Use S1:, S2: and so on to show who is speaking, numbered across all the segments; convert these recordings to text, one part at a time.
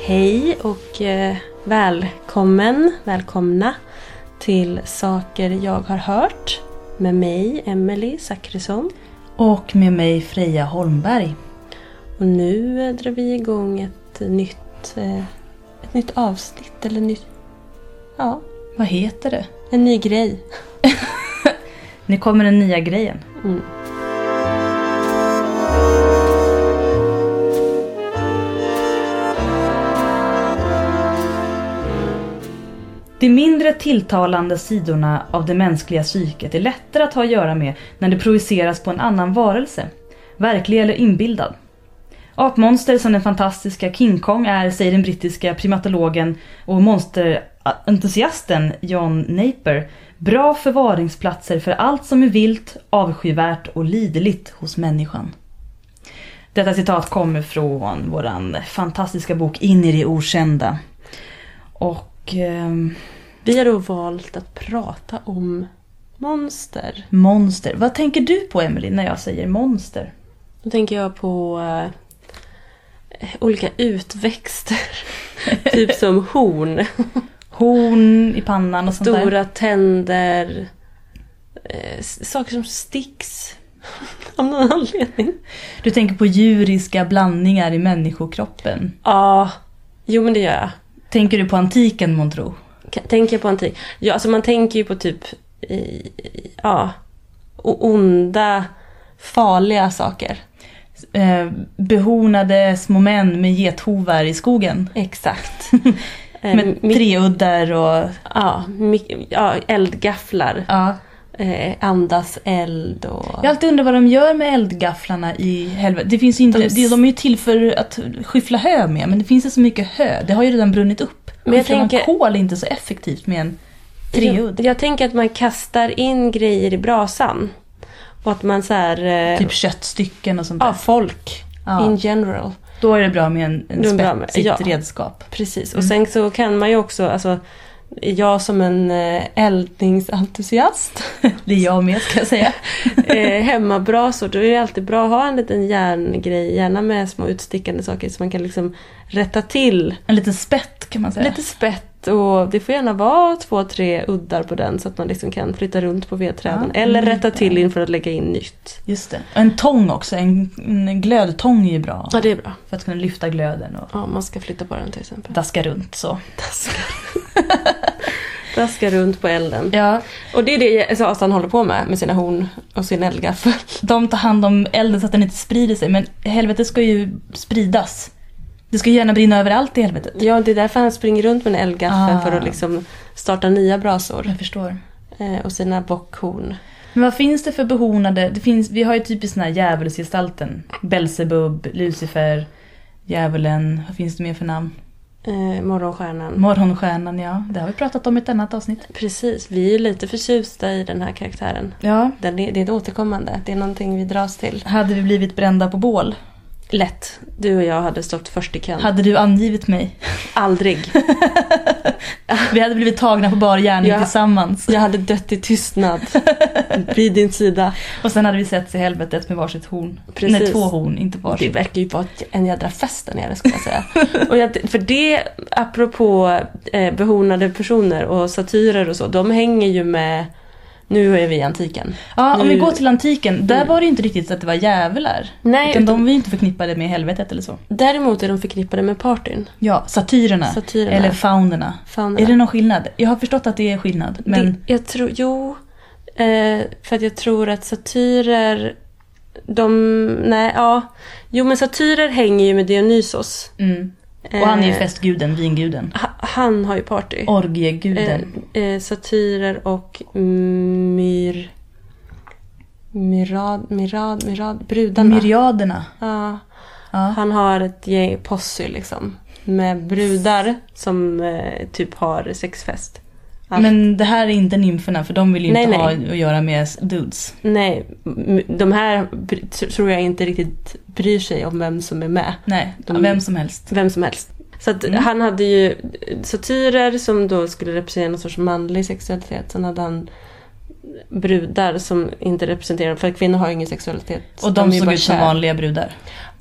S1: Hej och eh, välkommen, välkomna till Saker jag har hört med mig, Emelie Zachrisson.
S2: Och med mig Freja Holmberg.
S1: Och nu eh, drar vi igång ett nytt, eh, ett nytt avsnitt eller nytt, ja,
S2: Vad heter det?
S1: en ny grej.
S2: Nu kommer den nya grejen.
S1: Mm.
S2: De mindre tilltalande sidorna av det mänskliga psyket är lättare att ha att göra med när det projiceras på en annan varelse. Verklig eller inbildad. Apmonster som den fantastiska King Kong är, säger den brittiska primatologen och monsterentusiasten John Napier, bra förvaringsplatser för allt som är vilt, avskyvärt och liderligt hos människan. Detta citat kommer från våran fantastiska bok In i det okända. Och... ehm,
S1: Vi har då valt att prata om monster.
S2: Monster. Vad tänker du på Emily när jag säger monster?
S1: Då tänker jag på eh, olika utväxter. typ som horn.
S2: Horn i pannan och sånt där.
S1: Stora tänder. Eh, s- saker som sticks. Av någon anledning.
S2: Du tänker på djuriska blandningar i människokroppen.
S1: Ja, jo men det gör jag.
S2: Tänker du på antiken månntro?
S1: Ka- Tänker jag på antik. Ja, alltså man tänker ju på typ i, i, ja, o- onda, farliga saker.
S2: Eh, behornade små män med gethovar i skogen.
S1: Exakt. Eh,
S2: Med
S1: mi-
S2: treuddar och...
S1: ja, mi- ja, eldgafflar.
S2: Ja.
S1: Eh, andas eld och...
S2: Jag har alltid undrat vad de gör med eldgafflarna i helvetet. Det finns ju inte,
S1: De-
S2: de... de är ju till för att skyffla hö med, men det finns ju så mycket hö. Det har ju redan brunnit upp.
S1: Men jag
S2: Skyfflar
S1: tänker-
S2: man kol är inte så effektivt med en treudd.
S1: Jag, jag tänker att man kastar in grejer i brasan. Och att man så här... Eh,
S2: Typ köttstycken och sånt där.
S1: Ja, folk.
S2: Ja.
S1: In general.
S2: Då är det bra med en, en
S1: Då är det bra med-
S2: spetsigt
S1: ja.
S2: redskap.
S1: Precis.
S2: Mm.
S1: Och sen så kan man ju också, alltså, jag som en eh, eldningsentusiast,
S2: Det är jag med ska jag säga.
S1: eh, hemmabrasor, då är det alltid bra att ha en liten järngrej, gärna med små utstickande saker så man kan liksom rätta till
S2: En liten spett kan man säga.
S1: lite spett och det får gärna vara två, tre uddar på den så att man liksom kan flytta runt på vedträden.
S2: Ja,
S1: Eller
S2: lite.
S1: rätta till inför att lägga in nytt.
S2: Just det. Och en tång också. En, en glödtång är ju bra.
S1: Ja, det är bra.
S2: För att kunna lyfta glöden och
S1: Ja, man ska flytta på den till exempel.
S2: daska runt så.
S1: Daska, Daska runt på elden.
S2: Ja.
S1: Och det är det Asan håller på med, med sina horn och sin eldgaffel.
S2: De tar hand om elden så att den inte sprider sig. Men helvetet ska ju spridas. Det ska ju gärna brinna överallt i helvetet.
S1: Ja, det är därför han springer runt med en eldgaffel
S2: Ah.
S1: för att liksom starta nya brasor.
S2: Jag förstår.
S1: Eh, och sina bockhorn.
S2: Men vad finns det för behornade? Det finns, vi har ju typiskt såna här djävulsgestalten. Belsebub, Lucifer, djävulen. Vad finns det mer för namn?
S1: Eh, morgonstjärnan.
S2: Mm. Morgonstjärnan, ja. Det har vi pratat om i ett annat avsnitt.
S1: Precis, vi är ju lite förtjusta i den här karaktären.
S2: Ja.
S1: Den är, det är ett återkommande, det är någonting vi dras till.
S2: Hade vi blivit brända på bål?
S1: Lätt, du och jag hade stått först i kön.
S2: Hade du angivit mig?
S1: Aldrig.
S2: Vi hade blivit tagna på bar gärning
S1: Ja.
S2: tillsammans.
S1: Jag hade dött i tystnad. Vid din sida.
S2: Och sen hade vi sett i helvetet med varsitt horn.
S1: Precis.
S2: Nej, två horn, inte
S1: Det
S2: varsitt.
S1: verkar ju vara ett- en jädra fest där nere ska jag säga. och jag, för det, apropå eh, behornade personer och satyrer och så, de hänger ju med... Nu är vi i antiken.
S2: Ja, om vi
S1: Nu-
S2: går till antiken. Där
S1: Mm.
S2: var det ju inte riktigt så att det var djävular.
S1: Nej,
S2: Utan
S1: utan-
S2: de var ju inte förknippade med helvetet eller så.
S1: Däremot är de förknippade med partyn.
S2: Ja, satyrerna.
S1: Satyrerna.
S2: Eller faunerna.
S1: faunerna.
S2: Är det någon skillnad? Jag har förstått att det är skillnad. Men
S1: det, jag tror, jo. Eh, för att jag tror att satyrer... De, nej, ja. Jo men satyrer hänger ju med Dionysos.
S2: Mm. Och han är ju
S1: Eh,
S2: festguden, vinguden.
S1: ha- Han har ju party.
S2: Orgieguden.
S1: Eh, eh, satyrer och myr... Mirad, mirad, mirad, brudarna.
S2: Myriaderna.
S1: Ja,
S2: Ja.
S1: han har ett gäng posse liksom. Med brudar som eh, typ har sexfest. Allt.
S2: Men det här är inte nymferna för de vill ju
S1: Nej,
S2: inte
S1: nej.
S2: ha att göra med dudes.
S1: Nej, m- de här br- tr- tror jag inte riktigt bryr sig om vem som är med.
S2: Nej,
S1: De-
S2: vem som helst.
S1: Vem som helst. Så att
S2: Mm.
S1: han hade ju satyrer som då skulle representera någon sorts manlig sexualitet. Sen hade han brudar som inte representerar, för kvinnor har ju ingen sexualitet.
S2: Och de
S1: är ju
S2: såg
S1: bara
S2: ut som
S1: kär.
S2: vanliga brudar.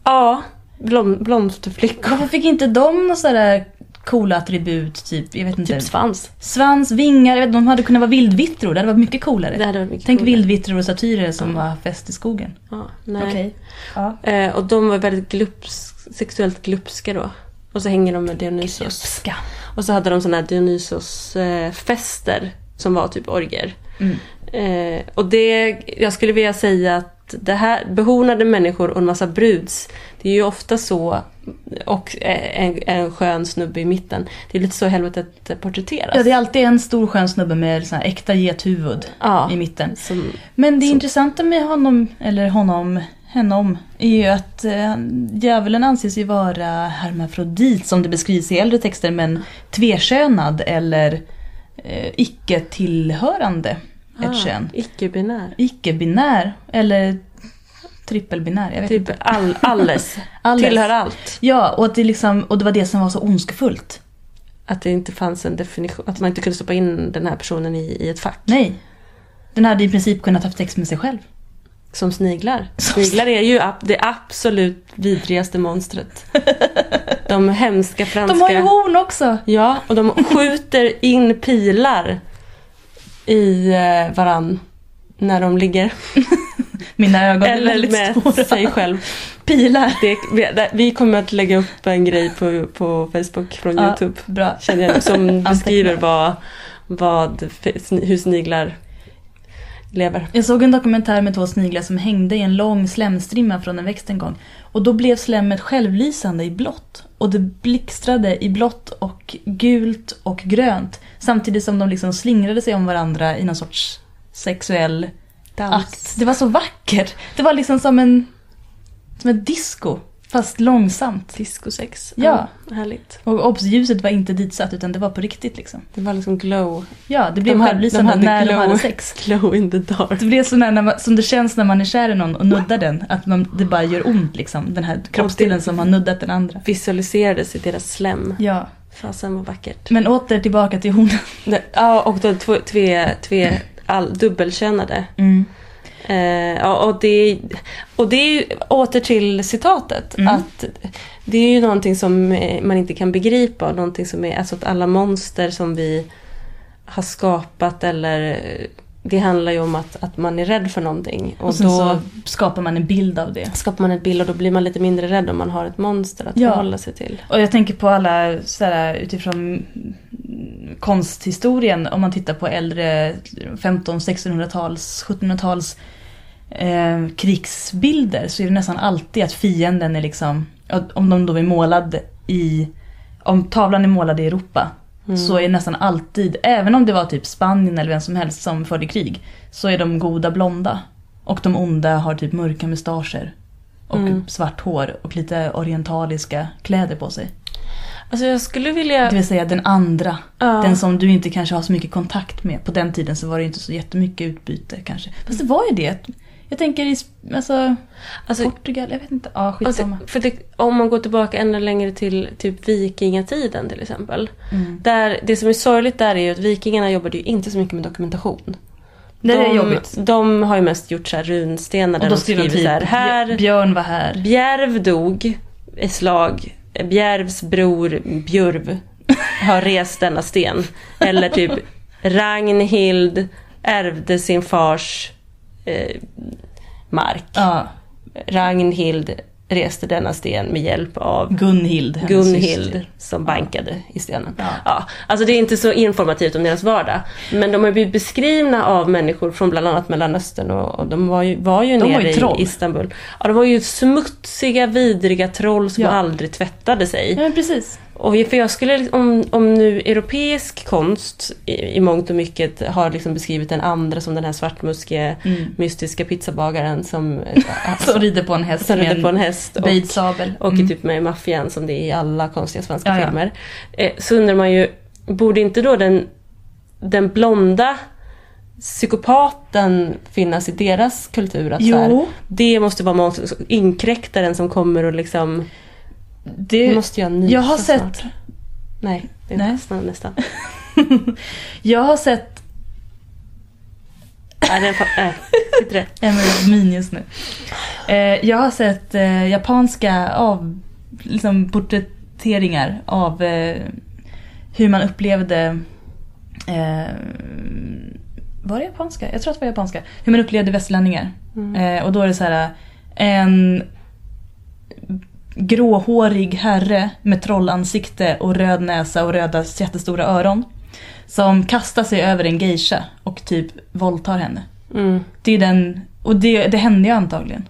S1: Ja, Blom, blomsterflickor.
S2: Varför fick inte de några sådär coola attribut? Typ, jag vet inte.
S1: Typ svans.
S2: Svans, vingar, jag vet, de hade kunnat vara vildvittror. Det hade varit mycket coolare.
S1: Det hade varit mycket
S2: Tänk
S1: roligare.
S2: vildvittror och satyrer som var fest i skogen.
S1: Ja, nej.
S2: Ja.
S1: Eh, och de var väldigt glups, sexuellt glupska då. Och så hänger de med Dionysos.
S2: Ska.
S1: Och så hade de såna här Dionysos-fester som var typ orger.
S2: Mm.
S1: Eh, och det, jag skulle vilja säga att det här, behornade människor och en massa bruds, det är ju ofta så, och eh, en, en skön snubbe i mitten, det är lite så helvetet eh, porträtteras.
S2: Ja, det är alltid en stor skön snubbe med sån här äkta gethuvud
S1: Ja.
S2: i mitten.
S1: Som,
S2: Men det
S1: Så.
S2: intressanta med honom, eller honom, henom, är ju att eh, djävulen anses ju vara hermafrodit som det beskrivs i äldre texter men tvekönad eller eh, icke tillhörande ett
S1: Ah.
S2: kön.
S1: Icke-binär.
S2: Icke-binär eller trippelbinär, jag vet
S1: Typ
S2: inte.
S1: all, alles.
S2: Alles.
S1: Tillhör allt.
S2: Ja, och, att det liksom, och det var det som var så ondskefullt.
S1: Att det inte fanns en definition, att man inte kunde stoppa in den här personen i, i ett fack.
S2: Nej. Den hade i princip kunnat haft sex med sig själv.
S1: Som sniglar.
S2: Som
S1: Sniglar är ju ab- det absolut vidrigaste monstret. De hemska franska...
S2: De har ju horn också!
S1: Ja, och de skjuter in pilar i eh, varann när de ligger.
S2: Mina ögon är
S1: Eller
S2: väldigt stora.
S1: med sig själv.
S2: Pilar.
S1: Det, vi- vi kommer att lägga upp en grej på, på Facebook från
S2: Ja.
S1: Youtube.
S2: Bra.
S1: Känner jag, som
S2: Anteckna.
S1: beskriver vad, vad, hur sniglar lever.
S2: Jag såg en dokumentär med två sniglar som hängde i en lång slemstrimma från en växt en gång. Och då blev slemmet självlysande i blått. Och det blixtrade i blått och gult och grönt. Samtidigt som de liksom slingrade sig om varandra i någon sorts sexuell akt. Det var så vackert! Det var liksom som en... Som ett disco. Fast långsamt.
S1: Discosex.
S2: Ja.
S1: Härligt.
S2: Och obs, ljuset var inte ditsatt utan det var på riktigt liksom.
S1: Det var liksom glow.
S2: Ja, det blev
S1: De hade-
S2: självlysande
S1: de hade
S2: när
S1: glow.
S2: de hade sex.
S1: Glow in the dark.
S2: Det blir sån här när man, som det känns när man är kär i någon och nuddar den. Att man, det bara gör ont liksom. Den här kroppsdelen som har nuddat den andra.
S1: Visualiserades i deras slem.
S2: Ja.
S1: Fasen var vackert.
S2: Men åter tillbaka till hornen.
S1: Nej, Ja, och de två, tve, tve, all, dubbelkönade.
S2: Mm.
S1: Eh, ja, och, det, och det är ju åter till citatet.
S2: Mm.
S1: Att det är ju någonting som eh, man inte kan begripa. och Någonting som är, alltså att alla monster som vi har skapat eller eh, det handlar ju om att, att man är rädd för någonting. Och,
S2: Och sen
S1: då
S2: så skapar man en bild av det.
S1: skapar man ett bild och då blir man lite mindre rädd om man har ett monster att
S2: Ja.
S1: förhålla sig till.
S2: Och jag tänker på alla sådär utifrån mm, konsthistorien. Om man tittar på äldre 15 1600-tals, 1700-tals eh, krigsbilder. Så är det nästan alltid att fienden är liksom, om de då är målad i, om tavlan är målad i Europa.
S1: Mm.
S2: så är nästan alltid, även om det var typ Spanien eller vem som helst som förde krig, så är de goda blonda. Och de onda har typ mörka mustascher. Och
S1: Mm.
S2: svart hår och lite orientaliska kläder på sig.
S1: Alltså jag skulle vilja...
S2: Det vill säga den andra.
S1: Ja.
S2: Den som du inte kanske har så mycket kontakt med. På den tiden så var det ju inte så jättemycket utbyte kanske. Fast det var ju det. Jag tänker i Sp- alltså,
S1: Alltså,
S2: Portugal, jag vet inte. Ja,
S1: Alltså,
S2: skitsamma.
S1: för det, om man går tillbaka ännu längre till typ vikingatiden till exempel.
S2: Mm.
S1: Där, det som är sorgligt där är ju att vikingarna jobbade ju inte så mycket med dokumentation.
S2: Det är
S1: de,
S2: jobbigt.
S1: De har ju mest gjort så här runstenar där
S2: Och då
S1: de
S2: skriver de
S1: skriver
S2: typ,
S1: så här, här
S2: Björn var här.
S1: Bjärv dog i slag. Bjärvs bror Björv har rest denna sten. Eller typ Ragnhild ärvde sin fars eh, mark.
S2: Ja,
S1: Ragnhild reste denna sten med hjälp av
S2: Gunhild. hennes syster.
S1: Gunhild som bankade i stenen.
S2: Ja.
S1: Ja, alltså det är inte så informativt om deras vardag. Men de har ju blivit beskrivna av människor från bland annat Mellanöstern och, och de var ju, var ju
S2: De
S1: nere
S2: var ju troll.
S1: i Istanbul. Ja, de var ju smutsiga, vidriga troll som
S2: Ja.
S1: aldrig tvättade sig.
S2: Ja men precis.
S1: Och för jag skulle, om, om nu europeisk konst i, i mångt och mycket har liksom beskrivit den andra som den här svartmuskige
S2: Mm.
S1: mystiska pizzabagaren som,
S2: Som rider på en häst
S1: Alltså, som rider
S2: med
S1: på en
S2: en
S1: häst. och-
S2: böjd sabel.
S1: och
S2: Mm.
S1: är typ med i maffian som det är i alla konstiga svenska
S2: Ja, ja.
S1: filmer. Eh, så undrar man ju, borde inte då den, den blonda psykopaten finnas i deras kultur? Att så här,
S2: Jo,
S1: det måste vara monster, så inkräktaren som kommer och liksom...
S2: det,
S1: Nu måste jag nysa
S2: Eh, jag har sett-
S1: snart. Nej, det är
S2: Nej.
S1: nästan. nästan.
S2: jag har sett
S1: Nej, den, fa- nej, inte det.
S2: en min just nu. Eh, jag har sett eh, japanska av, liksom, porträtteringar av eh, hur man upplevde... Eh, var det japanska? Jag tror att det var japanska. Hur man upplevde västlänningar.
S1: Mm.
S2: Eh, och då är det så här en gråhårig herre med trollansikte och röd näsa och röda jättestora öron. Som kastar sig över en geisha och typ våldtar henne.
S1: Mm.
S2: Det är den, och det, det hände ju antagligen.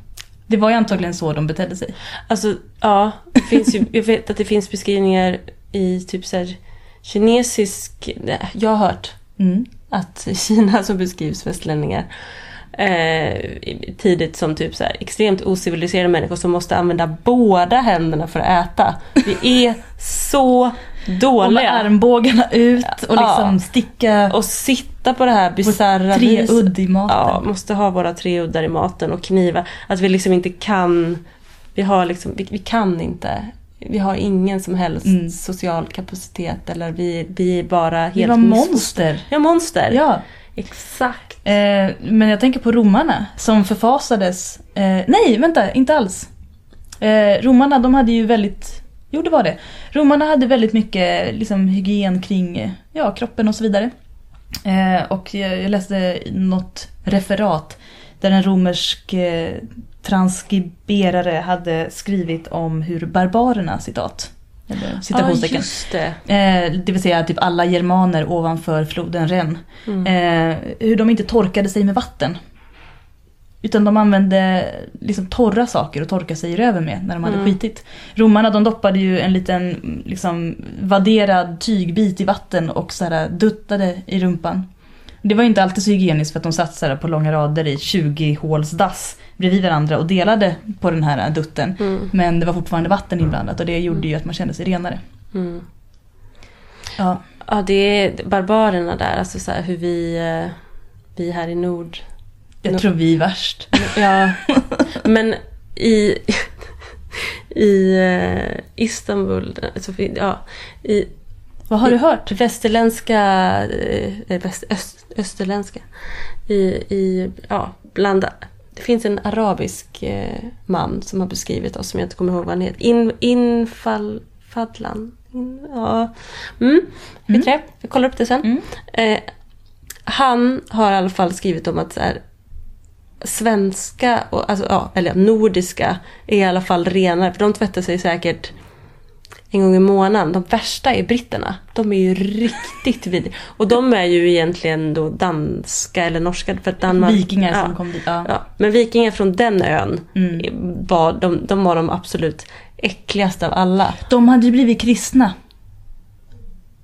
S2: Det var ju antagligen så de betedde sig.
S1: Alltså, ja. Det finns ju, jag vet att det finns beskrivningar i typ så här, kinesisk... nej, Jag har hört
S2: Mm.
S1: att i Kina så beskrivs västlänningar eh, tidigt som typ så här, extremt ociviliserade människor som måste använda båda händerna för att äta. Vi är så
S2: Och med
S1: dåliga.
S2: armbågarna ut och liksom
S1: Ja.
S2: sticka
S1: Och sitta på det här bisarra
S2: tre
S1: viset.
S2: udd i maten.
S1: Ja, måste ha våra tre uddar i maten och knivar. Att vi liksom inte kan, vi har liksom, vi, vi kan inte. Vi har ingen som helst
S2: Mm.
S1: social kapacitet eller vi, vi är bara helt
S2: det var
S1: miss-
S2: monster.
S1: Ja, monster.
S2: Ja.
S1: Exakt.
S2: Eh, men jag tänker på romarna som förfasades. Eh, nej, vänta, inte alls. Eh, romarna de hade ju väldigt, jo det var det. Romarna hade väldigt mycket liksom, hygien kring eh, ja, kroppen och så vidare. Eh, och jag, jag läste något referat där en romersk eh, transkriberare hade skrivit om hur barbarerna, citat, eller citationstecken,
S1: just det.
S2: eh, det vill säga typ alla germaner ovanför floden Ren
S1: Mm.
S2: Eh, hur de inte torkade sig med vatten. Utan de använde liksom torra saker att torka sig i röven med när de hade
S1: Mm.
S2: skitit. Romarna de doppade ju en liten liksom, vadderad tygbit i vatten och så här, duttade i rumpan. Det var ju inte alltid så hygieniskt för att de satt så här, på långa rader i 20 håls dass bredvid varandra och delade på den här dutten.
S1: Mm.
S2: Men det var fortfarande vatten inblandat och det gjorde ju att man kände sig renare.
S1: Mm.
S2: Ja.
S1: Ja, det är barbarerna där, alltså så här hur vi, eh, vi här i nord.
S2: Jag tror vi är värst.
S1: Ja, men i, i eh, Istanbul, alltså, vi- ja, i
S2: Vad har du hört?
S1: västerländska, eh, väst, öst, österländska, i, i, ja, bland, det finns en arabisk eh, man som har beskrivit oss som jag inte kommer ihåg vad han heter. In, infall, Fadlan. In, ja. Mm,
S2: Mm.
S1: vet du det? Jag kollar upp det sen.
S2: Mm.
S1: Eh, han har i alla fall skrivit om att så här, svenska, och, alltså, ja, eller nordiska, är i alla fall renare. För de tvättar sig säkert en gång i månaden. De värsta är britterna. De är ju riktigt vidriga. Och de är ju egentligen då danska eller norska. För att Danmark,
S2: Vikingar som
S1: ja,
S2: kom dit. Ja.
S1: ja. Men vikingar från den ön
S2: Mm.
S1: var de, de, var de absolut äckligaste av alla.
S2: De hade ju blivit kristna.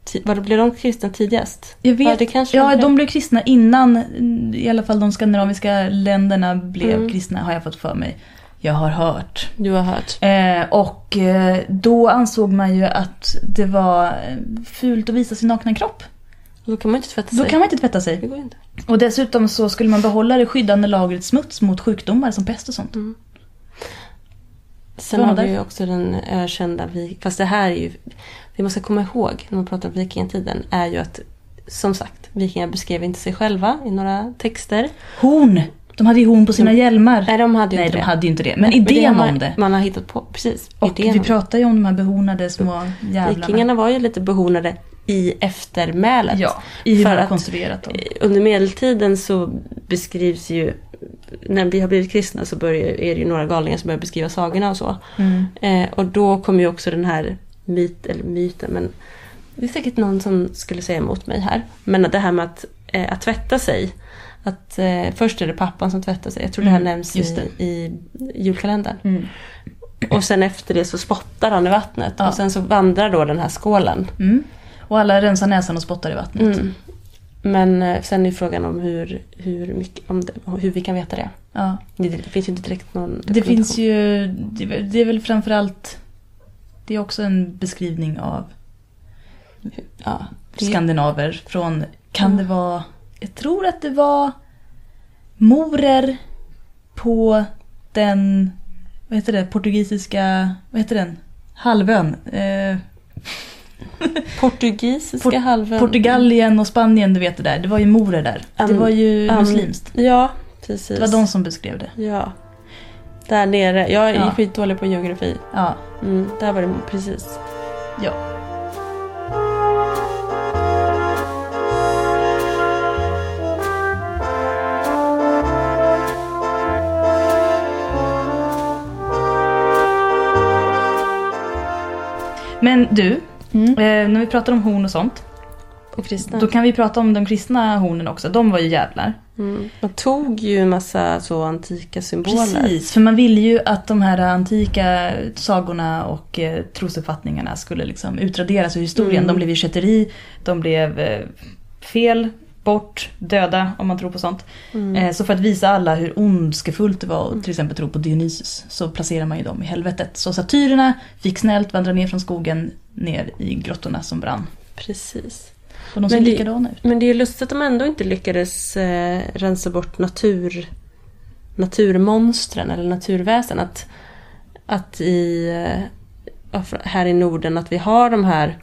S1: Ti- Var blev de kristna tidigast?
S2: Jag vet.
S1: Ja, det kanske
S2: ja,
S1: de blev.
S2: de blev kristna innan mm, i alla fall de skandinaviska länderna blev
S1: Mm.
S2: kristna har jag fått för mig. Jag har hört.
S1: Du har hört.
S2: Eh, och eh, då ansåg man ju att det var eh, fult att visa sin nakna kropp.
S1: Då kan man ju inte tvätta
S2: Då
S1: sig.
S2: kan man inte tvätta sig.
S1: Det går ju inte.
S2: Och dessutom så skulle man behålla det skyddande lagret smuts mot sjukdomar som pest och sånt.
S1: Sen
S2: Vad
S1: har
S2: var
S1: vi
S2: det?
S1: ju också den ökända vi- fast det här är ju, det man ska komma ihåg när man pratar om vikingatiden är ju att som sagt, vikingar beskrev inte sig själva i några texter.
S2: Horn! De hade ju horn på sina hjälmar.
S1: Nej, de hade ju
S2: Nej,
S1: inte
S2: de
S1: det.
S2: hade ju inte det. Men
S1: Men det har
S2: idén om
S1: man,
S2: det.
S1: Man har hittat på, precis.
S2: Och
S1: idén
S2: vi
S1: om det.
S2: pratar ju om de här behornade små jävlarna.
S1: Vikingarna var ju lite behornade i eftermälet.
S2: Ja, i hur
S1: För
S2: man har
S1: att-
S2: konstruerat dem.
S1: Under medeltiden så beskrivs ju, när vi har blivit kristna så börjar, är det ju några galningar som börjar beskriva sagorna och så.
S2: Mm.
S1: Eh, och då kom ju också den här myt, eller myten, men det är säkert någon som skulle säga emot mig här. Men det här med att, eh, att tvätta sig. Att, eh, först är det pappan som tvättar sig. Jag tror det här
S2: Mm,
S1: nämns just
S2: mm.
S1: i, i julkalendern.
S2: Mm.
S1: Och sen efter det så spottar han i vattnet.
S2: Ja.
S1: Och sen så vandrar då den här skålen.
S2: Mm. Och alla rensar näsan och spottar i vattnet.
S1: Mm. Men eh, sen är ju frågan om hur, hur, mycket, om det, hur vi kan veta det.
S2: Ja.
S1: Det det finns ju inte direkt någon
S2: Det
S1: dokumentation.
S2: finns ju, det är väl- det är väl framförallt, det är också en beskrivning av
S1: Ja, det-
S2: skandinaver från, kan
S1: Mm.
S2: det vara, jag tror att det var morer på den, vad heter det, portugisiska, vad heter den, halvön? Eh,
S1: Portugisiska
S2: Port-
S1: halvön.
S2: Portugalien och Spanien, du vet det där, det var ju morer där. Det
S1: Um,
S2: var ju
S1: um,
S2: muslimskt.
S1: Ja, precis.
S2: Det var de som beskrev det.
S1: Ja. Där nere. Jag är
S2: Ja.
S1: skitdålig på geografi.
S2: Ja.
S1: Mm, där var det precis.
S2: ja. Men du, eh, när vi pratar om horn och sånt.
S1: Och kristna.
S2: Då kan vi prata om de kristna hornen också. De var ju jävlar.
S1: Mm. Man tog ju en massa så antika symboler.
S2: Precis, för man ville ju att de här antika sagorna och eh, trosuppfattningarna skulle liksom utraderas ur historien.
S1: Mm.
S2: De blev ju kätteri, de blev eh, fel, bort, döda om man tror på sånt.
S1: Mm.
S2: Eh, så för att visa alla hur ondskefullt det var att till exempel tro på Dionysus så placerar man ju dem i helvetet. Så satyrerna fick snällt vandra ner från skogen ner i grottorna som brann.
S1: Precis.
S2: Och de ser
S1: Men det-
S2: likadana ut.
S1: Men det är ju lustigt att de ändå inte lyckades eh, rensa bort natur, naturmonstren eller naturväsen. Att, att i, eh, ja, för- här i Norden att vi har de här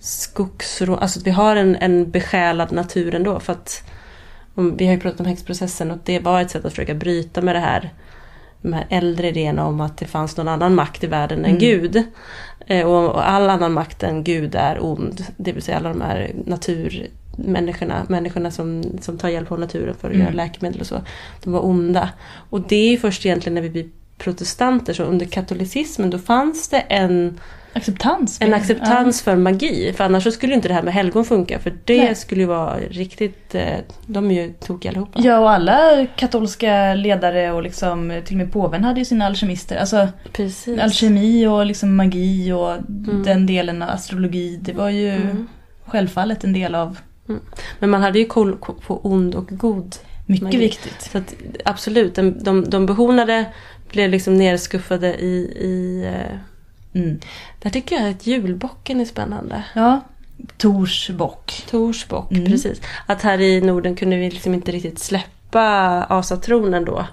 S1: skogsrå... Alltså att vi har en, en besjälad natur ändå. För att, om, vi har ju pratat om häxprocessen och det var ett sätt att försöka bryta med det här de här äldre idéerna om att det fanns någon annan makt i världen än
S2: Mm.
S1: Gud. Eh, och, och all annan makt än Gud är ond. Det vill säga alla de här naturmänniskorna, människorna som, som tar hjälp av naturen för att
S2: Mm.
S1: göra läkemedel och så. De var onda. Och det är ju först egentligen när vi blir protestanter, så under katolicismen då fanns det en,
S2: Acceptans.
S1: en acceptans för magi. För annars så skulle ju inte det här med helgon funka för det
S2: Nej.
S1: skulle ju vara riktigt, eh, de är ju tokiga allihopa.
S2: Ja, och alla katolska ledare och liksom, till och med påven hade ju sina alkemister. Alltså
S1: Precis.
S2: alkemi och liksom magi och den delen av astrologi. Det var ju
S1: Mm.
S2: självfallet en del av
S1: Men man hade ju koll ko- på ond och god.
S2: mycket
S1: Magi.
S2: viktigt.
S1: Så att, absolut, de, de, de behornade blev liksom nerskuffade i... i eh,
S2: Mm.
S1: där tycker jag att julbocken är spännande.
S2: Ja, Tors bock.
S1: Torsbock,
S2: Mm.
S1: precis. Att här i Norden kunde vi liksom inte riktigt släppa asatronen då.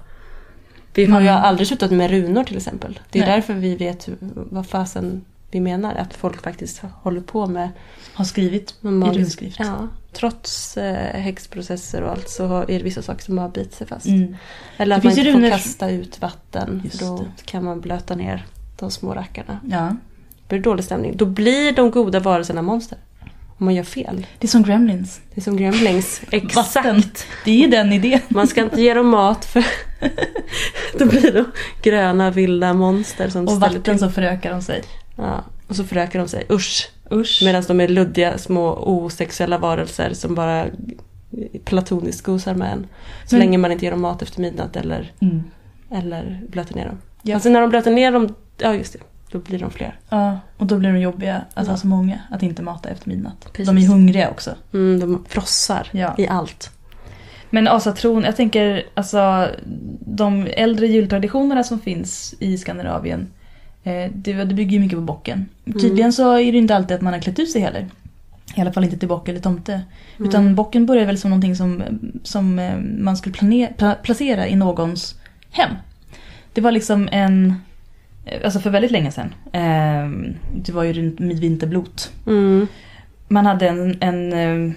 S1: Vi har ju
S2: Mm.
S1: aldrig slutat med runor till exempel. Det är
S2: Nej.
S1: därför vi vet hur, vad fasen vi menar. Att folk faktiskt håller på med
S2: Har skrivit
S1: någon
S2: i
S1: magisk...
S2: runskrift.
S1: Ja, trots eh, häxprocesser och allt så har- är det vissa saker som har bitit sig fast.
S2: Mm.
S1: Eller att
S2: Det
S1: man
S2: finns ju
S1: inte får
S2: runor-
S1: kasta ut vatten.
S2: Just
S1: för Då kan man blöta ner de små rackarna.
S2: ja.
S1: Då blir det dålig stämning. Då blir de goda varelserna monster. Om man gör fel.
S2: Det är som Gremlins.
S1: Det är som Gremlings.
S2: Vatten.
S1: Exakt.
S2: Det är den idén.
S1: Man ska inte ge dem mat för då blir de gröna vilda monster som
S2: Och
S1: ställer till.
S2: vatten så förökar de sig.
S1: Ja. Och så förökar de sig. Usch.
S2: Usch.
S1: Medan de är luddiga små osexuella varelser som bara platoniskt gosar med en. Så
S2: Men-
S1: länge man inte ger dem mat efter midnatt eller
S2: Mm.
S1: Eller blöta ner dem.
S2: Ja.
S1: Alltså när de blöter ner dem, ja just det, då blir de fler.
S2: Ja, och då blir de jobbiga att
S1: Ja.
S2: ha så många. Att inte mata efter midnatt.
S1: Precis.
S2: De är hungriga också.
S1: Mm, de frossar
S2: Ja.
S1: i allt.
S2: Men asatron, jag tänker alltså de äldre jultraditionerna som finns i Skandinavien. Eh, det, det bygger ju mycket på bocken. Tydligen så är det inte alltid att man har klätt ut sig heller. I alla fall inte till bock eller tomte. Utan bocken börjar väl som någonting som, som eh, man skulle planera, pla, placera i någons hem. Det var liksom en, eh, alltså för väldigt länge sedan. Eh, det var ju runt midvinterblot
S1: Mm.
S2: man hade en, en, eh,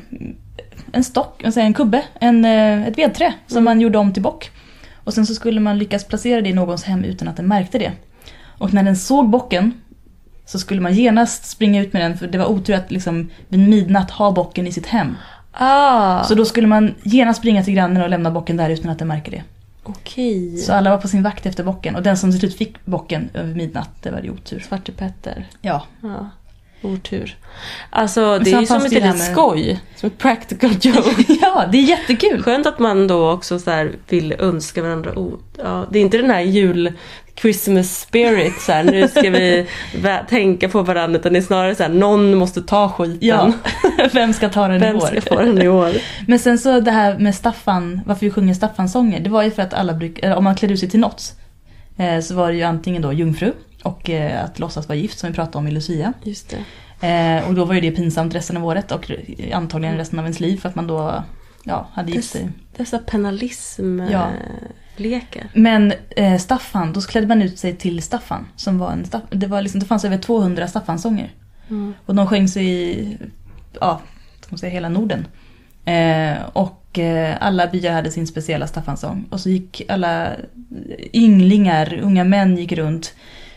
S2: en stock, alltså en kubbe, en, eh, ett vedträ som
S1: Mm.
S2: man gjorde om till bock. Och sen så skulle man lyckas placera det i någons hem utan att den märkte det. Och när den såg bocken så skulle man genast springa ut med den för det var otur att liksom vid midnatt ha bocken i sitt hem.
S1: Ah,
S2: Så då skulle man genast springa till grannen och lämna bocken där utan att den märker det.
S1: okej.
S2: Så alla var på sin vakt efter bocken och den som till slut fick bocken över midnatt, det var det otur.
S1: Svarte Petter.
S2: Ja,
S1: Ja. Otur. Alltså det
S2: sen
S1: är ju som
S2: fanns
S1: ett
S2: det ju det
S1: litet
S2: här med-
S1: skoj. Som ett practical joke.
S2: ja det är jättekul!
S1: Skönt att man då också så här vill önska varandra o- ja, Det är inte den här jul Christmas spirit så här, nu ska vi vä- tänka på varandra utan det är snarare så här, någon måste ta skiten.
S2: Ja, vem ska ta den i
S1: Vem
S2: år?
S1: ska få den i år?
S2: Men sen så det här med Staffan, varför vi sjunger Staffan-sånger, det var ju för att alla bruk, eller om man klädde ut sig till något eh, så var det ju antingen då jungfru och eh, att låtsas vara gift som vi pratade om i Lucia.
S1: Just det.
S2: Eh, Och då var ju det pinsamt resten av året och re- antagligen resten av ens liv för att man då ja, hade gift sig.
S1: Dessa
S2: Ja.
S1: penalismlekar.
S2: Men eh, Staffan, då klädde man ut sig till Staffan. Som var en Staff- det, var liksom, det fanns över 200 Staffan-sånger.
S1: Mm.
S2: Och de sjöngs i ja, ska man säga, hela Norden. Eh, och eh, alla byar hade sin speciella Staffansång. Och så gick alla ynglingar, unga män gick runt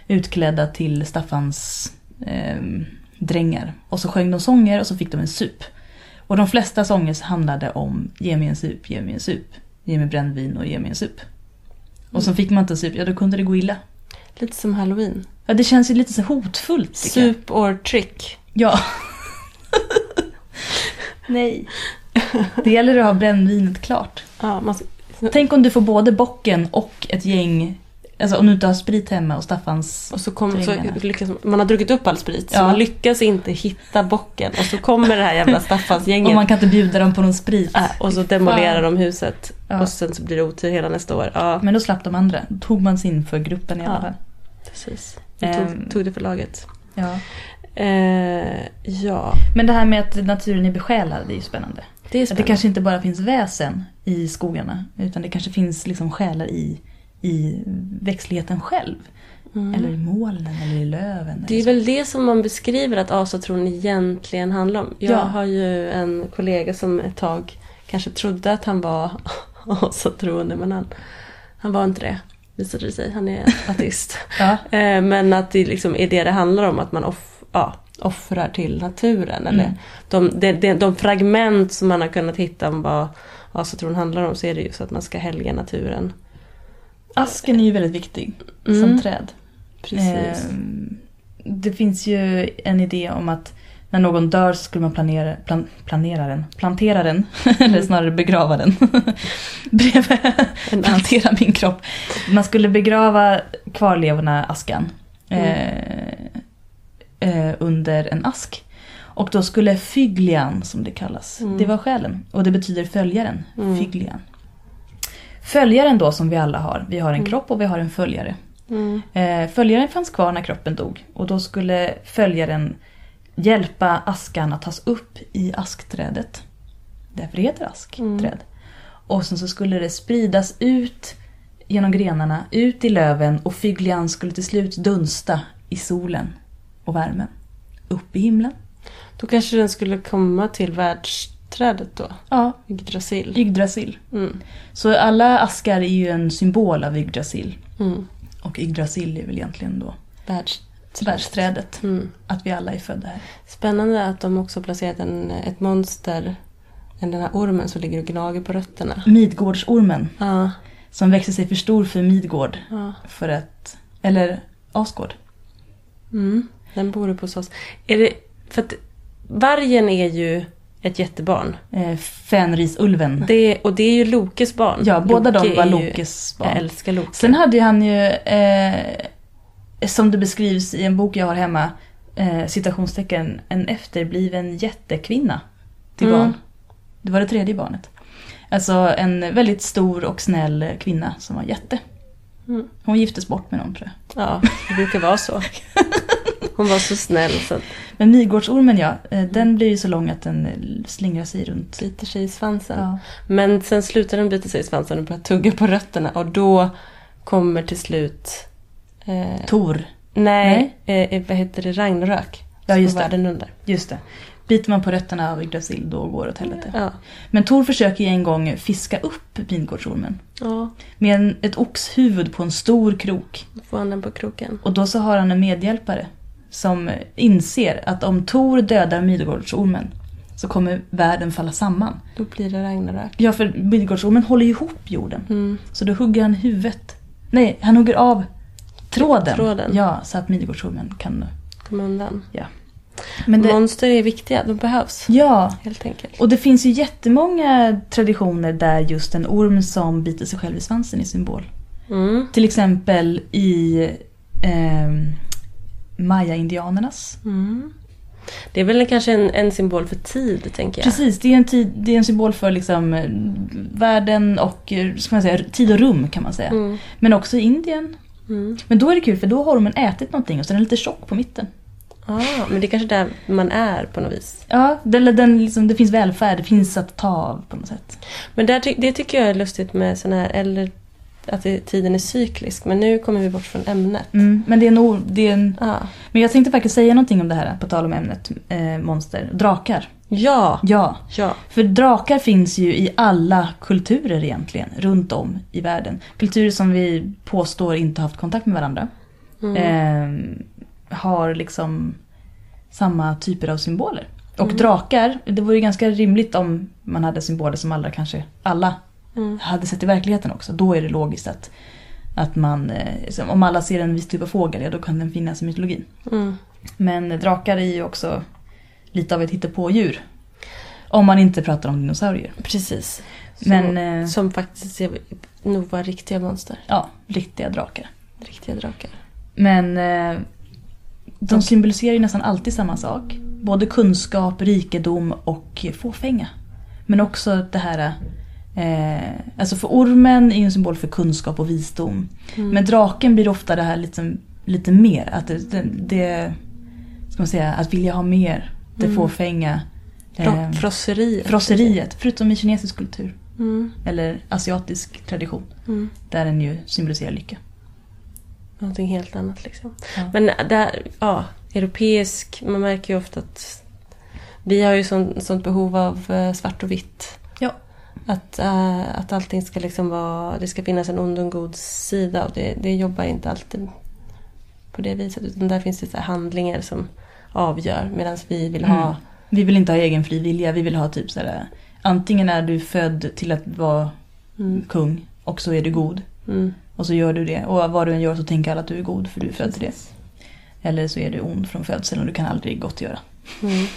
S2: utklädda till Staffans eh, drängar. Och så sjöng de sånger och så fick de en sup. Och de flesta sånger så handlade om ge mig en sup, ge mig en sup. Ge mig brännvin och ge mig en sup. Och så fick man inte en sup, ja då kunde det gå illa.
S1: Lite som halloween.
S2: Ja, det känns ju lite så hotfullt. tycker jag.
S1: Sup or trick.
S2: Ja.
S1: Nej.
S2: Det gäller att ha brännvinet klart.
S1: Ja, man, ska-
S2: Tänk om du får både bocken och ett gäng, alltså om du inte har sprit hemma och Staffans...
S1: och så kom, så
S2: Drängarna.
S1: lyckas, man har druckit upp all sprit så
S2: Ja.
S1: man lyckas inte hitta bocken och så kommer det här jävla Staffansgänget
S2: Och man kan inte bjuda dem på någon sprit.
S1: äh, och så demolerar de huset
S2: Ja.
S1: och sen så blir det otur hela nästa år. Ja,
S2: Men då slapp de andra. Då tog man sin för gruppen i alla
S1: Ja.
S2: fall.
S1: precis. De tog,
S2: Ehm.
S1: tog det för laget.
S2: Ja.
S1: Eh, ja,
S2: Men det här med att naturen är besjälad, det är ju spännande.
S1: det är
S2: Att det
S1: spännande.
S2: kanske inte bara finns väsen i skogarna. Utan det kanske finns liksom själar i, i växtligheten själv.
S1: Mm.
S2: Eller i molnen eller i löven.
S1: Det
S2: eller
S1: är
S2: så.
S1: väl det som man beskriver att asatron egentligen handlar om. Jag
S2: Ja.
S1: har ju en kollega som ett tag kanske trodde att han var asatroende men han, han var inte det visade det sig. Han är ateist.
S2: Ja.
S1: Eh, men att det liksom är det det handlar om, att man off, ja, offrar till naturen. Eller
S2: Mm.
S1: de, de, de, de fragment som man har kunnat hitta om vad asatron handlar om så är det ju så att man ska helga naturen.
S2: Asken är ju väldigt viktig som
S1: Mm, Eh,
S2: träd.
S1: Precis.
S2: Ehm, Det finns ju en idé om att när någon dör så skulle man planera, plan, planera den, plantera den, eller snarare begrava den. Bredvid,
S1: En
S2: plantera min kropp. Man skulle begrava kvarlevorna, askan,
S1: Mm.
S2: eh, eh, under en ask. Och då skulle fyglian, som det kallas,
S1: Mm.
S2: det var själen. Och det betyder följaren,
S1: Mm.
S2: fyglian. Följaren då som vi alla har, vi har en
S1: Mm.
S2: kropp och vi har en följare.
S1: Mm.
S2: Eh, Följaren fanns kvar när kroppen dog och då skulle följaren hjälpa askan att tas upp i askträdet. Därför heter det askträd.
S1: Mm.
S2: Och sen så skulle det spridas ut genom grenarna, ut i löven och fyglian skulle till slut dunsta i solen och värmen. Upp i himlen.
S1: Då kanske den skulle komma till världsträdet då,
S2: Ja,
S1: Yggdrasil.
S2: Yggdrasil.
S1: Mm.
S2: Så alla askar är ju en symbol av Yggdrasil.
S1: Mm.
S2: Och Yggdrasil är väl egentligen då
S1: Världsträdet.
S2: världsträdet.
S1: Mm.
S2: Att vi alla är födda här.
S1: Spännande att de också placerat en, ett monster, en- den här ormen som ligger och gnager på rötterna.
S2: Midgårdsormen.
S1: Ja,
S2: som växer sig för stor för Midgård
S1: ja.
S2: för att, eller Asgård.
S1: Mm. Den bor uppe hos oss. Är det, för att vargen är ju ett jättebarn.
S2: Eh, Fenrisulven.
S1: Det, och det är ju Lokes barn.
S2: Ja, båda de
S1: Mm. Loke
S2: var
S1: är ju-
S2: Lokes
S1: Jag
S2: barn.
S1: älskar Loke.
S2: Sen hade ju han ju, eh, som det beskrivs i en bok jag har hemma, eh, citationstecken, en efterbliven jättekvinna till
S1: Mm.
S2: barn. Det var det tredje barnet. Alltså en väldigt stor och snäll kvinna som var jätte.
S1: Mm.
S2: Hon giftes bort med någon tror jag.
S1: Ja, det brukar vara så. Hon var så snäll så att
S2: Men Midgårdsormen ja, eh, den blir ju så lång att den eh, slingrar sig runt.
S1: biter sig i svansen.
S2: Ja.
S1: Men sen slutar den bita sig i svansen och börjar tugga på rötterna och då kommer till slut... Eh,
S2: Tor
S1: nej, Eh, vad heter det? Ragnarök.
S2: Ja, just
S1: Som
S2: det.
S1: världen under.
S2: Just det. Biter man på rötterna av Yggdrasil då går det åt helvete.
S1: Ja.
S2: Men Tor försöker ju en gång fiska upp Midgårdsormen.
S1: ja,
S2: Med en, ett oxhuvud på en stor krok.
S1: då får han den på kroken.
S2: Och då så har han en medhjälpare. Som inser att om Tor dödar Midgårdsormen så kommer världen falla samman.
S1: Då blir det Ragnarök.
S2: Ja, för Midgårdsormen håller ju ihop jorden.
S1: Mm.
S2: Så då hugger han huvudet. Nej, han hugger av tråden.
S1: Tråden.
S2: Ja, så att Midgårdsormen kan...
S1: Kom undan.
S2: Men det,
S1: Monster är viktiga, de behövs.
S2: ja,
S1: Helt enkelt.
S2: Och det finns ju jättemånga traditioner där just en orm som biter sig själv i svansen är symbol.
S1: Mm.
S2: Till exempel i ehm, Maya-indianernas.
S1: Mm. Det är väl kanske en, en symbol för tid, tänker jag.
S2: Precis, det är, en tid, det är en symbol för liksom eh, världen och eh, ska man säga, tid och rum kan man säga.
S1: Mm.
S2: Men också i Indien.
S1: Mm.
S2: Men då är det kul för då har ormen ätit någonting och så är den lite tjock på mitten.
S1: Ah, men det är kanske där man är på något vis.
S2: Ja, den, den, liksom, det finns välfärd, det finns att ta av på något sätt.
S1: Men där, ty- det tycker jag är lustigt med sån här, eller att det, tiden är cyklisk. Men nu kommer vi bort från ämnet.
S2: Mm, men det är en, or- det är en
S1: Ja.
S2: Men jag tänkte faktiskt säga någonting om det här, på tal om ämnet eh, monster. Drakar.
S1: Ja,
S2: Ja,
S1: ja.
S2: för drakar finns ju i alla kulturer egentligen, runt om i världen. Kulturer som vi påstår inte haft kontakt med varandra.
S1: Mm.
S2: eh, har liksom samma typer av symboler. Och drakar, det vore ju ganska rimligt om man hade symboler som alla kanske alla
S1: Mm.
S2: hade sett i verkligheten också. Då är det logiskt att, att man, eh, som- om alla ser en viss typ av fågel, ja då kan den finnas i mytologin.
S1: Mm.
S2: Men drakar är ju också lite av ett hittepådjur. Om man inte pratar om dinosaurier.
S1: Precis.
S2: Men
S1: som,
S2: eh,
S1: som faktiskt är, nog var riktiga monster.
S2: ja, riktiga drakar.
S1: Riktiga drakar.
S2: Men eh, de symboliserar ju nästan alltid samma sak. Både kunskap, rikedom och fåfänga. Men också det här... Eh, alltså för ormen är ju en symbol för kunskap och visdom.
S1: Mm.
S2: Men draken blir ofta det här lite, lite mer. Att det, det, det... Ska man säga? Att vilja ha mer. Det
S1: Mm.
S2: fåfänga.
S1: Fro-
S2: Eh,
S1: frosseriet.
S2: frosseriet. Förutom i kinesisk kultur.
S1: Mm.
S2: Eller asiatisk tradition.
S1: Mm.
S2: Där den ju symboliserar lycka.
S1: Någonting helt annat liksom.
S2: Ja.
S1: Men där, ja, europeisk, man märker ju ofta att vi har ju sånt, sånt behov av eh, svart och vitt.
S2: Ja.
S1: Att, eh, att allting ska liksom vara, det ska finnas en ond och en god sida och det, det jobbar inte alltid på det viset. Utan där finns det så här handlingar som avgör medan vi vill ha
S2: Mm. Vi vill inte ha egen fri vilja, vi vill ha typ sådär Antingen är du född till att vara
S1: Mm.
S2: kung och så är du god
S1: Mm.
S2: och så gör du det och vad du än gör så tänker alla att du är god för du är född till det. Eller så är du ond från födseln och du kan aldrig gottgöra.
S1: Mm.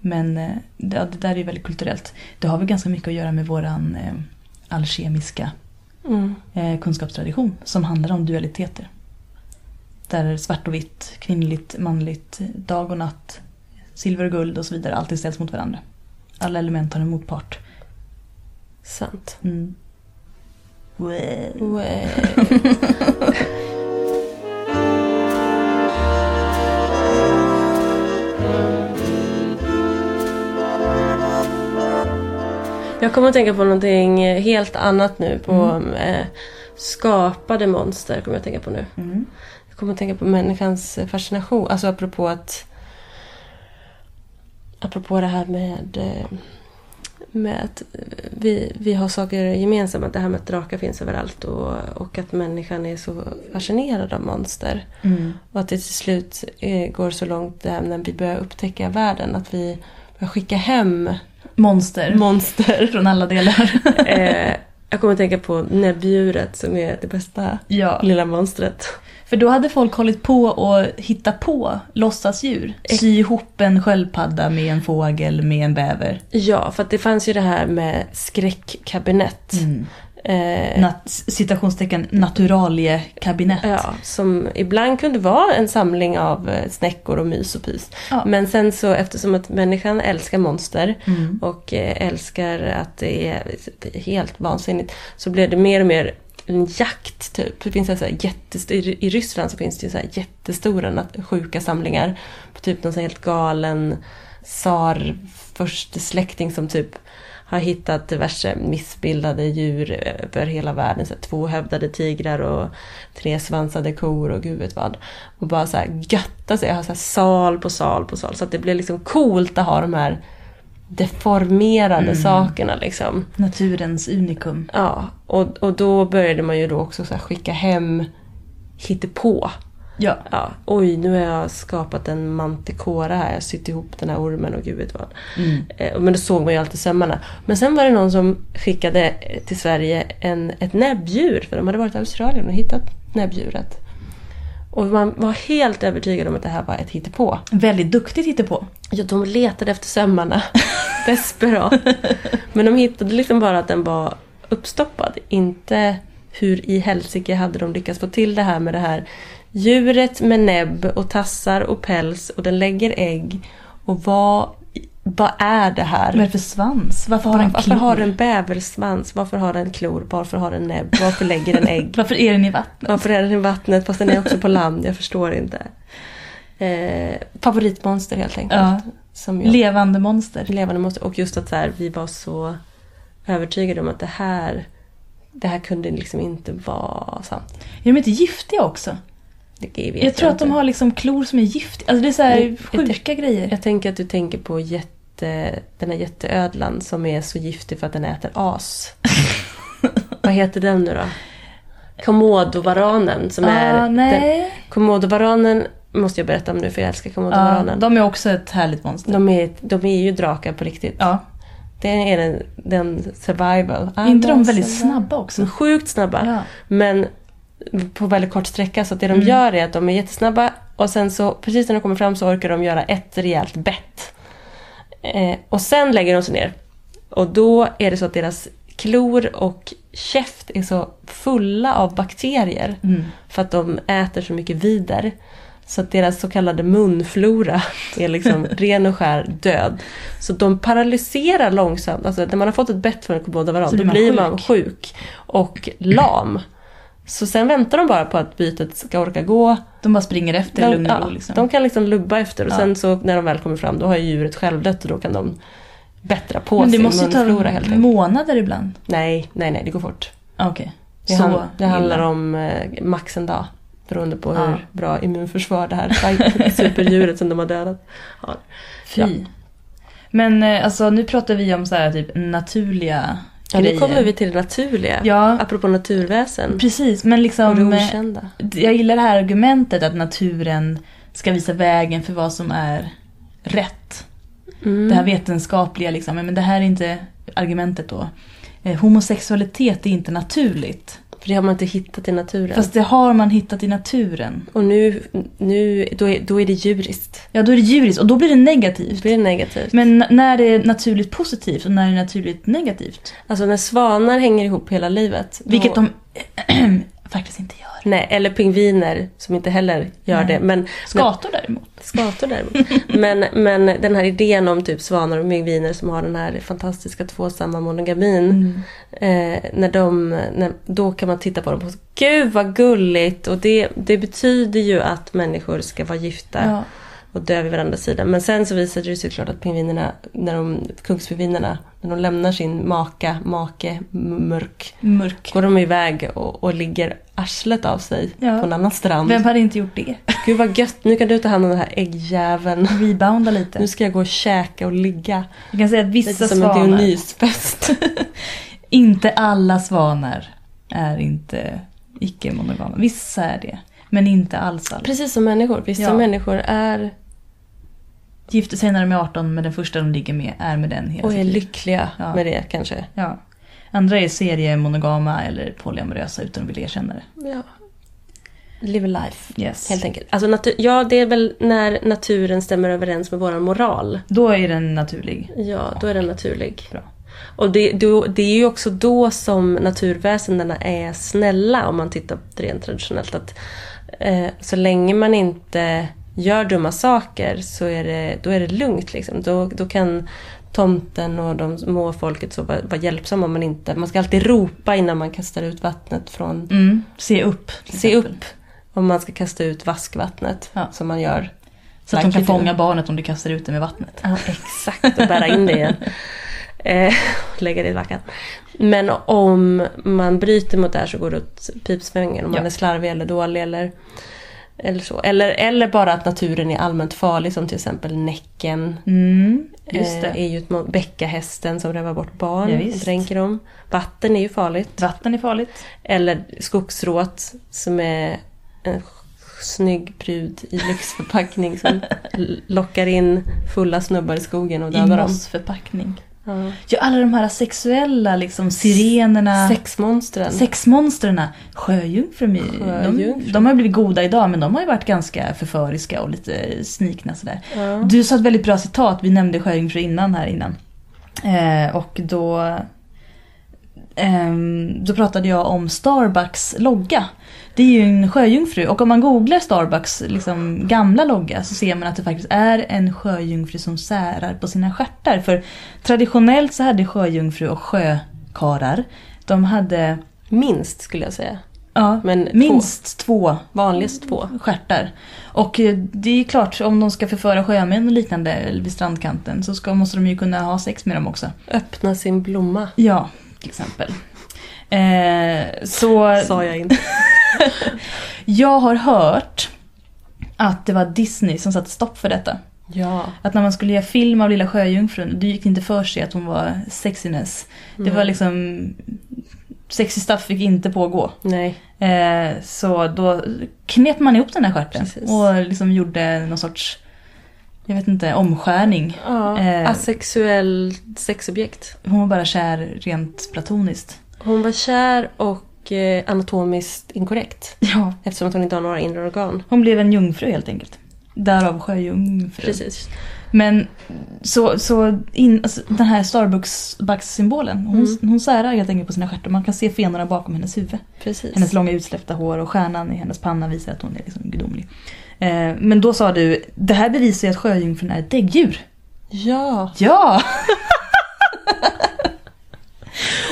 S2: Men eh, det, ja, det där är ju väldigt kulturellt. Det har väl ganska mycket att göra med våran eh, alkemiska
S1: Mm.
S2: eh, kunskapstradition som handlar om dualiteter. Där svart och vitt, kvinnligt, manligt, dag och natt, silver och guld och så vidare alltid ställs mot varandra. Alla element har en motpart.
S1: Sant.
S2: Mm. Wow.
S1: Wow. Jag kommer att tänka på någonting helt annat nu. På eh, skapade monster kommer jag att tänka på nu.
S2: Mm.
S1: Jag kommer att tänka på människans fascination. Alltså apropå att... Apropå det här med... eh, Med att eh, vi, vi har saker gemensamma. Det här med att drakar finns överallt och, och att människan är så fascinerad av monster.
S2: Mm.
S1: Och att det till slut eh, går så långt där när vi börjar upptäcka världen. Att vi börjar skicka hem
S2: Monster
S1: monster.
S2: från alla delar.
S1: Eh, jag kommer att tänka på näbbdjuret som är det bästa
S2: ja.
S1: lilla monstret.
S2: För då hade folk hållit på och hitta på låtsasdjur. Sy ihop en sköldpadda med en fågel med en bäver.
S1: Ja, för att det fanns ju det här med skräckkabinett.
S2: Mm.
S1: Eh,
S2: Nat- citationstecken naturaliekabinett.
S1: ja, som ibland kunde vara en samling av eh, snäckor och mys och pys.
S2: Ja.
S1: Men sen så eftersom att människan älskar monster
S2: Mm.
S1: och eh, älskar att det är helt vansinnigt så blev det mer och mer en jakt typ. Det finns så här jättest- I i Ryssland så finns det ju så här jättestora nat- sjuka samlingar. På typ någon så här helt galen tsar förste släkting som typ har hittat diverse missbildade djur över hela världen. Så här, två hövdade tigrar och tre svansade kor och gud vet vad. Och bara så här götta sig. Jag har så här sal på sal på sal. Så att det blir liksom coolt att ha de här deformerade
S2: Mm.
S1: sakerna liksom.
S2: Naturens unikum.
S1: Ja, och, och då började man ju då också så här skicka hem hittepå.
S2: Ja.
S1: Ja, oj, nu har jag skapat en mantikora här. Jag har sytt ihop den här ormen och gud vet vad.
S2: Mm.
S1: Eh, Men då såg man ju alltid sömmarna. Men sen var det någon som skickade eh, till Sverige en, ett näbbdjur. För de hade varit i Australien och hittat näbbdjuret. Och man var helt övertygad om att det här var ett hittepå.
S2: Väldigt duktigt hittepå.
S1: Ja, de letade efter sömmarna. Desperat. Men de hittade liksom bara att den var uppstoppad. Inte hur i helsike hade de lyckats få till det här med det här djuret med näbb och tassar och päls och den lägger ägg. Och vad, vad är det här?
S2: Vad är det för svans? Varför har den
S1: varför
S2: klor?
S1: har den bäversvans? Varför har den klor? Varför har den näbb? Varför lägger den ägg?
S2: Varför är den i vattnet?
S1: Varför är den i vattnet? Fast den är också på land. Jag förstår inte. Eh, favoritmonster helt enkelt.
S2: Ja.
S1: Som jag
S2: Levande monster.
S1: levande monster. Och just att så här, vi var så övertygade om att det här, det här kunde liksom inte vara sant.
S2: Är de inte giftiga också?
S1: Det vet
S2: Jag tror att de
S1: inte.
S2: har liksom klor som är giftiga. Alltså det är så här
S1: Jag- jag
S2: sjuka grejer.
S1: Jag tänker att du tänker på jätte jätte, den här jätteödlan som är så giftig för att den äter as. Vad heter den nu då? Komodovaranen som är...
S2: ah,
S1: den-
S2: nej.
S1: Komodovaranen måste jag berätta om nu för jag älskar
S2: Ja,
S1: komodovaranen.
S2: de är också ett härligt monster.
S1: de, är, de är ju drakar på riktigt.
S2: Ja.
S1: Det är den, den survival.
S2: Är inte de
S1: Survival.
S2: väldigt snabba
S1: Ah, De är
S2: också?
S1: sjukt snabba.
S2: Ja.
S1: Men på väldigt kort sträcka. Så att det de
S2: Mm.
S1: gör är att de är jättesnabba och sen så precis när de kommer fram så orkar de göra ett rejält bett. Eh, och sen lägger de sig ner. Och då är det så att deras klor och käft är så fulla av bakterier
S2: Mm.
S1: för att de äter så mycket vider. Så att deras så kallade munflora är liksom ren och skär död. Så de paralyserar långsamt. Alltså när man har fått ett bett från en komodovaran
S2: Så
S1: då
S2: blir man
S1: blir man sjuk och lam. Så sen väntar de bara på att bytet ska orka gå.
S2: De bara springer efter i
S1: de,
S2: lugn och
S1: ja,
S2: ro. Liksom.
S1: de kan liksom lubba efter och
S2: Ja.
S1: sen så när de väl kommer fram då har ju djuret självdött och då kan de bättra på
S2: Men det
S1: sin
S2: måste ju ta
S1: munflora helt enkelt.
S2: månader ibland.
S1: Nej, nej, nej, det går fort.
S2: Ah, Okej.
S1: Det,
S2: Så
S1: han, det handlar
S2: illa.
S1: om eh, max en dag. Beroende på
S2: Ja.
S1: hur bra immunförsvar det här superdjuret som de har dödat har.
S2: Fy. Men eh, alltså, nu pratar vi om så här, typ, naturliga
S1: Ja,
S2: grejer.
S1: nu kommer vi till det naturliga.
S2: Ja,
S1: Apropå naturväsen.
S2: precis. Men
S1: Och det
S2: liksom, eh,
S1: okända.
S2: jag gillar det här argumentet att naturen ska visa vägen för vad som är rätt.
S1: Mm.
S2: Det här vetenskapliga liksom, men det här är inte argumentet då. Eh, Homosexualitet är inte naturligt.
S1: För det har man inte hittat i naturen.
S2: Fast det har man hittat i naturen.
S1: Och nu, nu då, är, då är det djuriskt.
S2: Ja, då är det djuriskt och då blir det
S1: Det
S2: negativt.
S1: blir negativt.
S2: Men n- när det är naturligt positivt och när det är naturligt negativt.
S1: Alltså när svanar hänger ihop hela livet. då-
S2: Vilket de faktiskt inte gör.
S1: Nej, eller pingviner som inte heller gör
S2: Nej.
S1: det. Men,
S2: Skator däremot.
S1: Skator däremot. men, men den här idén om typ svanar och pingviner som har den här fantastiska tvåsamma monogamin.
S2: Mm.
S1: Eh, när de, när, då kan man titta på dem och så, gud vad gulligt! Och det, det betyder ju att människor ska vara gifta
S2: Ja.
S1: och dö vid varandras sida. Men sen så visade det sig klart att pingvinerna, när de, kungspingvinerna, när de lämnar sin maka, make, m- mörk,
S2: Mörk.
S1: går de iväg och, och ligger arslet av sig
S2: Ja.
S1: på en annan strand.
S2: Vem hade inte gjort det?
S1: Gud vad gött, nu kan du ta hand om den här äggjäveln.
S2: Rebounda lite.
S1: Nu ska jag gå och käka och ligga.
S2: Jag kan säga att
S1: Lite
S2: vissa
S1: som en
S2: svanar,
S1: dionysfest.
S2: inte alla svanar, är inte icke-monogama. Vissa är det, men inte alls alla.
S1: Precis som människor. Vissa
S2: Ja.
S1: människor är
S2: Gifter sig när de är 18 men den första de ligger med är med den hela
S1: och är
S2: sitt liv.
S1: lyckliga
S2: Ja.
S1: med det kanske.
S2: Ja. Andra är seriemonogama eller polyamorösa utan att vilja erkänna det.
S1: Ja. Live a life.
S2: Yes.
S1: Helt enkelt. Alltså natu- ja, det är väl när naturen stämmer överens med våran moral.
S2: Då är den naturlig.
S1: Ja, då är den naturlig.
S2: Bra.
S1: Och det, då, det är ju också då som naturväsendena är snälla om man tittar på det rent traditionellt. Att, eh, så länge man inte gör dumma saker så är det, då är det lugnt. Liksom. Då, då kan tomten och de små folket så vara, vara hjälpsamma. Om man, inte, man ska alltid ropa innan man kastar ut vattnet från...
S2: Mm. Se upp. till
S1: Se
S2: exempel.
S1: upp om man ska kasta ut vaskvattnet
S2: Ja.
S1: som man gör
S2: Så att de kan
S1: Verkligen.
S2: fånga barnet om du kastar ut det med vattnet.
S1: Ja, exakt. Och bära in det igen. Eh, lägga det i vackan. Men om man bryter mot det här så går det åt pipsvängen. Om man
S2: Ja.
S1: är slarvig eller dålig eller, eller så. Eller, eller bara att naturen är allmänt farlig som till exempel Näcken.
S2: Mm. Just
S1: Eh,
S2: det.
S1: är ju ett mo- Bäckahästen som rövar bort barn
S2: Ja,
S1: och
S2: visst.
S1: dränker dem. Vatten är ju farligt.
S2: Vatten är farligt.
S1: Eller skogsråt som är en sj- snygg prud i lyxförpackning som l- lockar in fulla snubbar i skogen och
S2: I
S1: dödar dem.
S2: mossförpackning.
S1: Ja.
S2: Ja, alla de här sexuella liksom,
S1: Äh,
S2: sirenerna.
S1: Sexmonstren.
S2: Sexmonstren, sjöjungfrun, de,
S1: Sjöjungfrun.
S2: de har ju blivit goda idag men de har ju varit ganska förföriska och lite snikna sådär.
S1: Ja.
S2: Du sa ett väldigt bra citat, vi nämnde Sjöjungfru innan här innan. Eh, och då, ehm, då pratade jag om Starbucks logga. Det är ju en sjöjungfru och om man googlar Starbucks liksom, gamla logga så ser man att det faktiskt är en sjöjungfru som särar på sina stjärtar. För traditionellt så hade sjöjungfru och sjökarlar, de hade
S1: Minst skulle jag säga.
S2: ja,
S1: Men Minst.
S2: minst två
S1: två. Vanligast två.
S2: stjärtar. Och eh, det är ju klart, om de ska förföra sjömän och liknande eller vid strandkanten så ska, måste de ju kunna ha sex med dem också.
S1: Öppna sin blomma.
S2: Ja, till exempel. Eh, så
S1: Sa jag inte.
S2: jag har hört att det var Disney som satte stopp för detta.
S1: Ja.
S2: Att när man skulle göra film av Lilla Sjöjungfrun, det gick inte för sig att hon var sexiness. Det
S1: Mm.
S2: var liksom... Sexy stuff fick inte pågå.
S1: Nej.
S2: Eh, så då knep man ihop den här stjärten
S1: Precis.
S2: och liksom gjorde någon sorts, jag vet inte, omskärning.
S1: Ja.
S2: Eh.
S1: Asexuell sexobjekt.
S2: Hon var bara kär rent platoniskt.
S1: Hon var kär och eh, anatomiskt inkorrekt.
S2: Ja.
S1: Eftersom att hon inte har några inre organ.
S2: Hon blev en jungfru helt enkelt. Därav sjöjungfru.
S1: Precis.
S2: Men så, så in, alltså, den här Starbucks-symbolen, hon,
S1: Mm.
S2: hon särar helt enkelt på sina stjärtar. Man kan se fenorna bakom hennes huvud.
S1: Precis.
S2: Hennes långa utsläppta hår och stjärnan i hennes panna visar att hon är liksom gudomlig. Eh, men då sa du, det här bevisar ju att sjöjungfrun är ett däggdjur.
S1: Ja.
S2: Ja!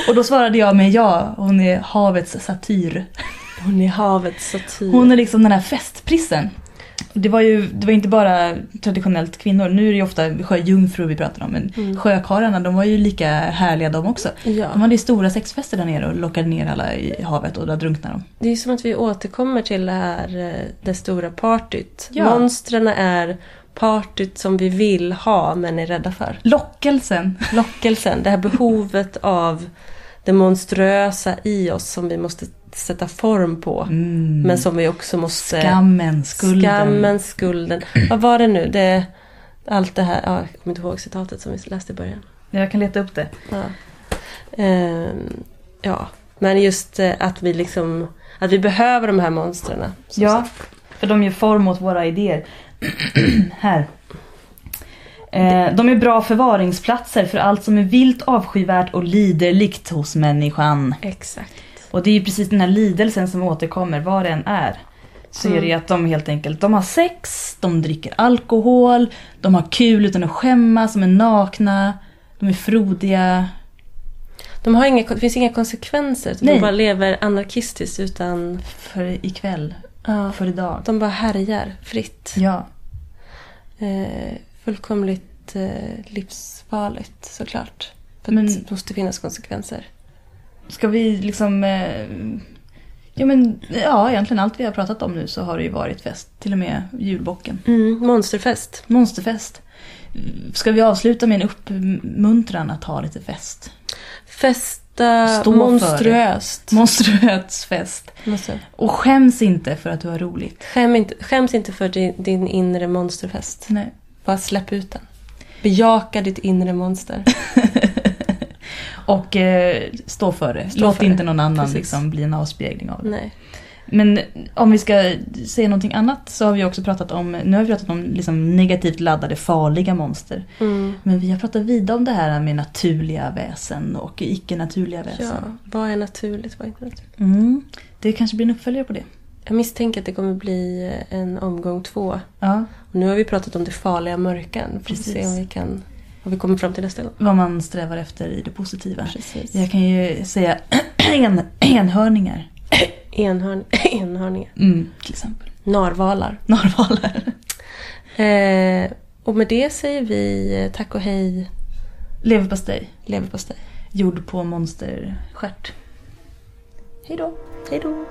S2: och då svarade jag med ja, hon är havets satyr.
S1: Hon är havets satir.
S2: Hon är liksom den här festprissen. Det var ju det var inte bara traditionellt kvinnor, nu är det ju ofta sjöjungfrur vi pratar om men
S1: Mm.
S2: sjökarlarna de var ju lika härliga de också.
S1: Ja.
S2: De hade ju stora sexfester där nere och lockade ner alla i havet och där drunknade de.
S1: Det är som att vi återkommer till det här eh, det stora partyt.
S2: Ja.
S1: Monstren är partyt som vi vill ha men är rädda för.
S2: Lockelsen!
S1: Lockelsen, det här behovet av det monströsa i oss som vi måste sätta form på.
S2: Mm.
S1: Men som vi också måste...
S2: Skammen, skulden.
S1: Skammen, skulden. Vad var det nu? Det, allt det här, ja, jag kommer inte ihåg citatet som vi läste i början.
S2: Jag kan leta upp det.
S1: Ja. Ehm, ja. Men just eh, att vi liksom, att vi behöver de här monstren. som
S2: Ja,
S1: sagt.
S2: för de ger form åt våra idéer. här. Eh, de är bra förvaringsplatser för allt som är vilt, avskyvärt och liderligt hos människan.
S1: Exakt.
S2: Och det är ju precis den här lidelsen som återkommer vad det än är. Så är det ju att de helt enkelt, de har sex, de dricker alkohol, de har kul utan att skämmas, de är nakna, de är frodiga.
S1: De har inga, det finns inga konsekvenser. utan
S2: Nej.
S1: De bara lever anarkistiskt utan...
S2: För ikväll,
S1: Ja,
S2: för idag.
S1: de bara härjar fritt.
S2: Ja.
S1: Eh, fullkomligt eh, livsfarligt såklart. För
S2: Men-
S1: att det måste finnas konsekvenser.
S2: Ska vi liksom... Eh, ja men ja, egentligen allt vi har pratat om nu så har det ju varit fest. Till och med julbocken.
S1: Mm, monsterfest.
S2: Monsterfest. Ska vi avsluta med en uppmuntran att ha lite fest?
S1: Festa
S2: Stå för
S1: monstruöst.
S2: Monstruös fest.
S1: Monster.
S2: Och skäms inte för att du har roligt.
S1: Skäm inte, skäms inte för din, din inre monsterfest.
S2: Nej.
S1: Bara släpp ut den. Bejaka ditt inre monster.
S2: Och eh, stå för det.
S1: Stå
S2: Låt
S1: för
S2: inte
S1: det.
S2: någon annan
S1: Precis.
S2: liksom, bli en avspegling av det.
S1: Nej.
S2: Men eh, om vi ska säga någonting annat så har vi också pratat om, nu har vi pratat om liksom negativt laddade farliga monster.
S1: Mm.
S2: Men vi har pratat vidare om det här med naturliga väsen och icke-naturliga
S1: Ja,
S2: väsen.
S1: Alltså, vad är naturligt? Vad är inte naturligt?
S2: Mm. Det kanske blir en uppföljare på det.
S1: Jag misstänker att det kommer bli en omgång två.
S2: Ja.
S1: Och nu har vi pratat om det farliga mörkan. Får vi se
S2: Precis.
S1: om vi kan... Vad vi kommer fram till nästa gång.
S2: Vad man strävar efter i det positiva.
S1: Precis.
S2: Jag kan ju säga en, enhörningar.
S1: Enhörn, enhörningar.
S2: Mm, till exempel.
S1: Narvalar.
S2: Narvaler.
S1: Eh, och med det säger vi eh, tack och hej
S2: Leverpastej.
S1: leverpastej.
S2: Gjord på monsterstjärt. Hej då.
S1: Hej då!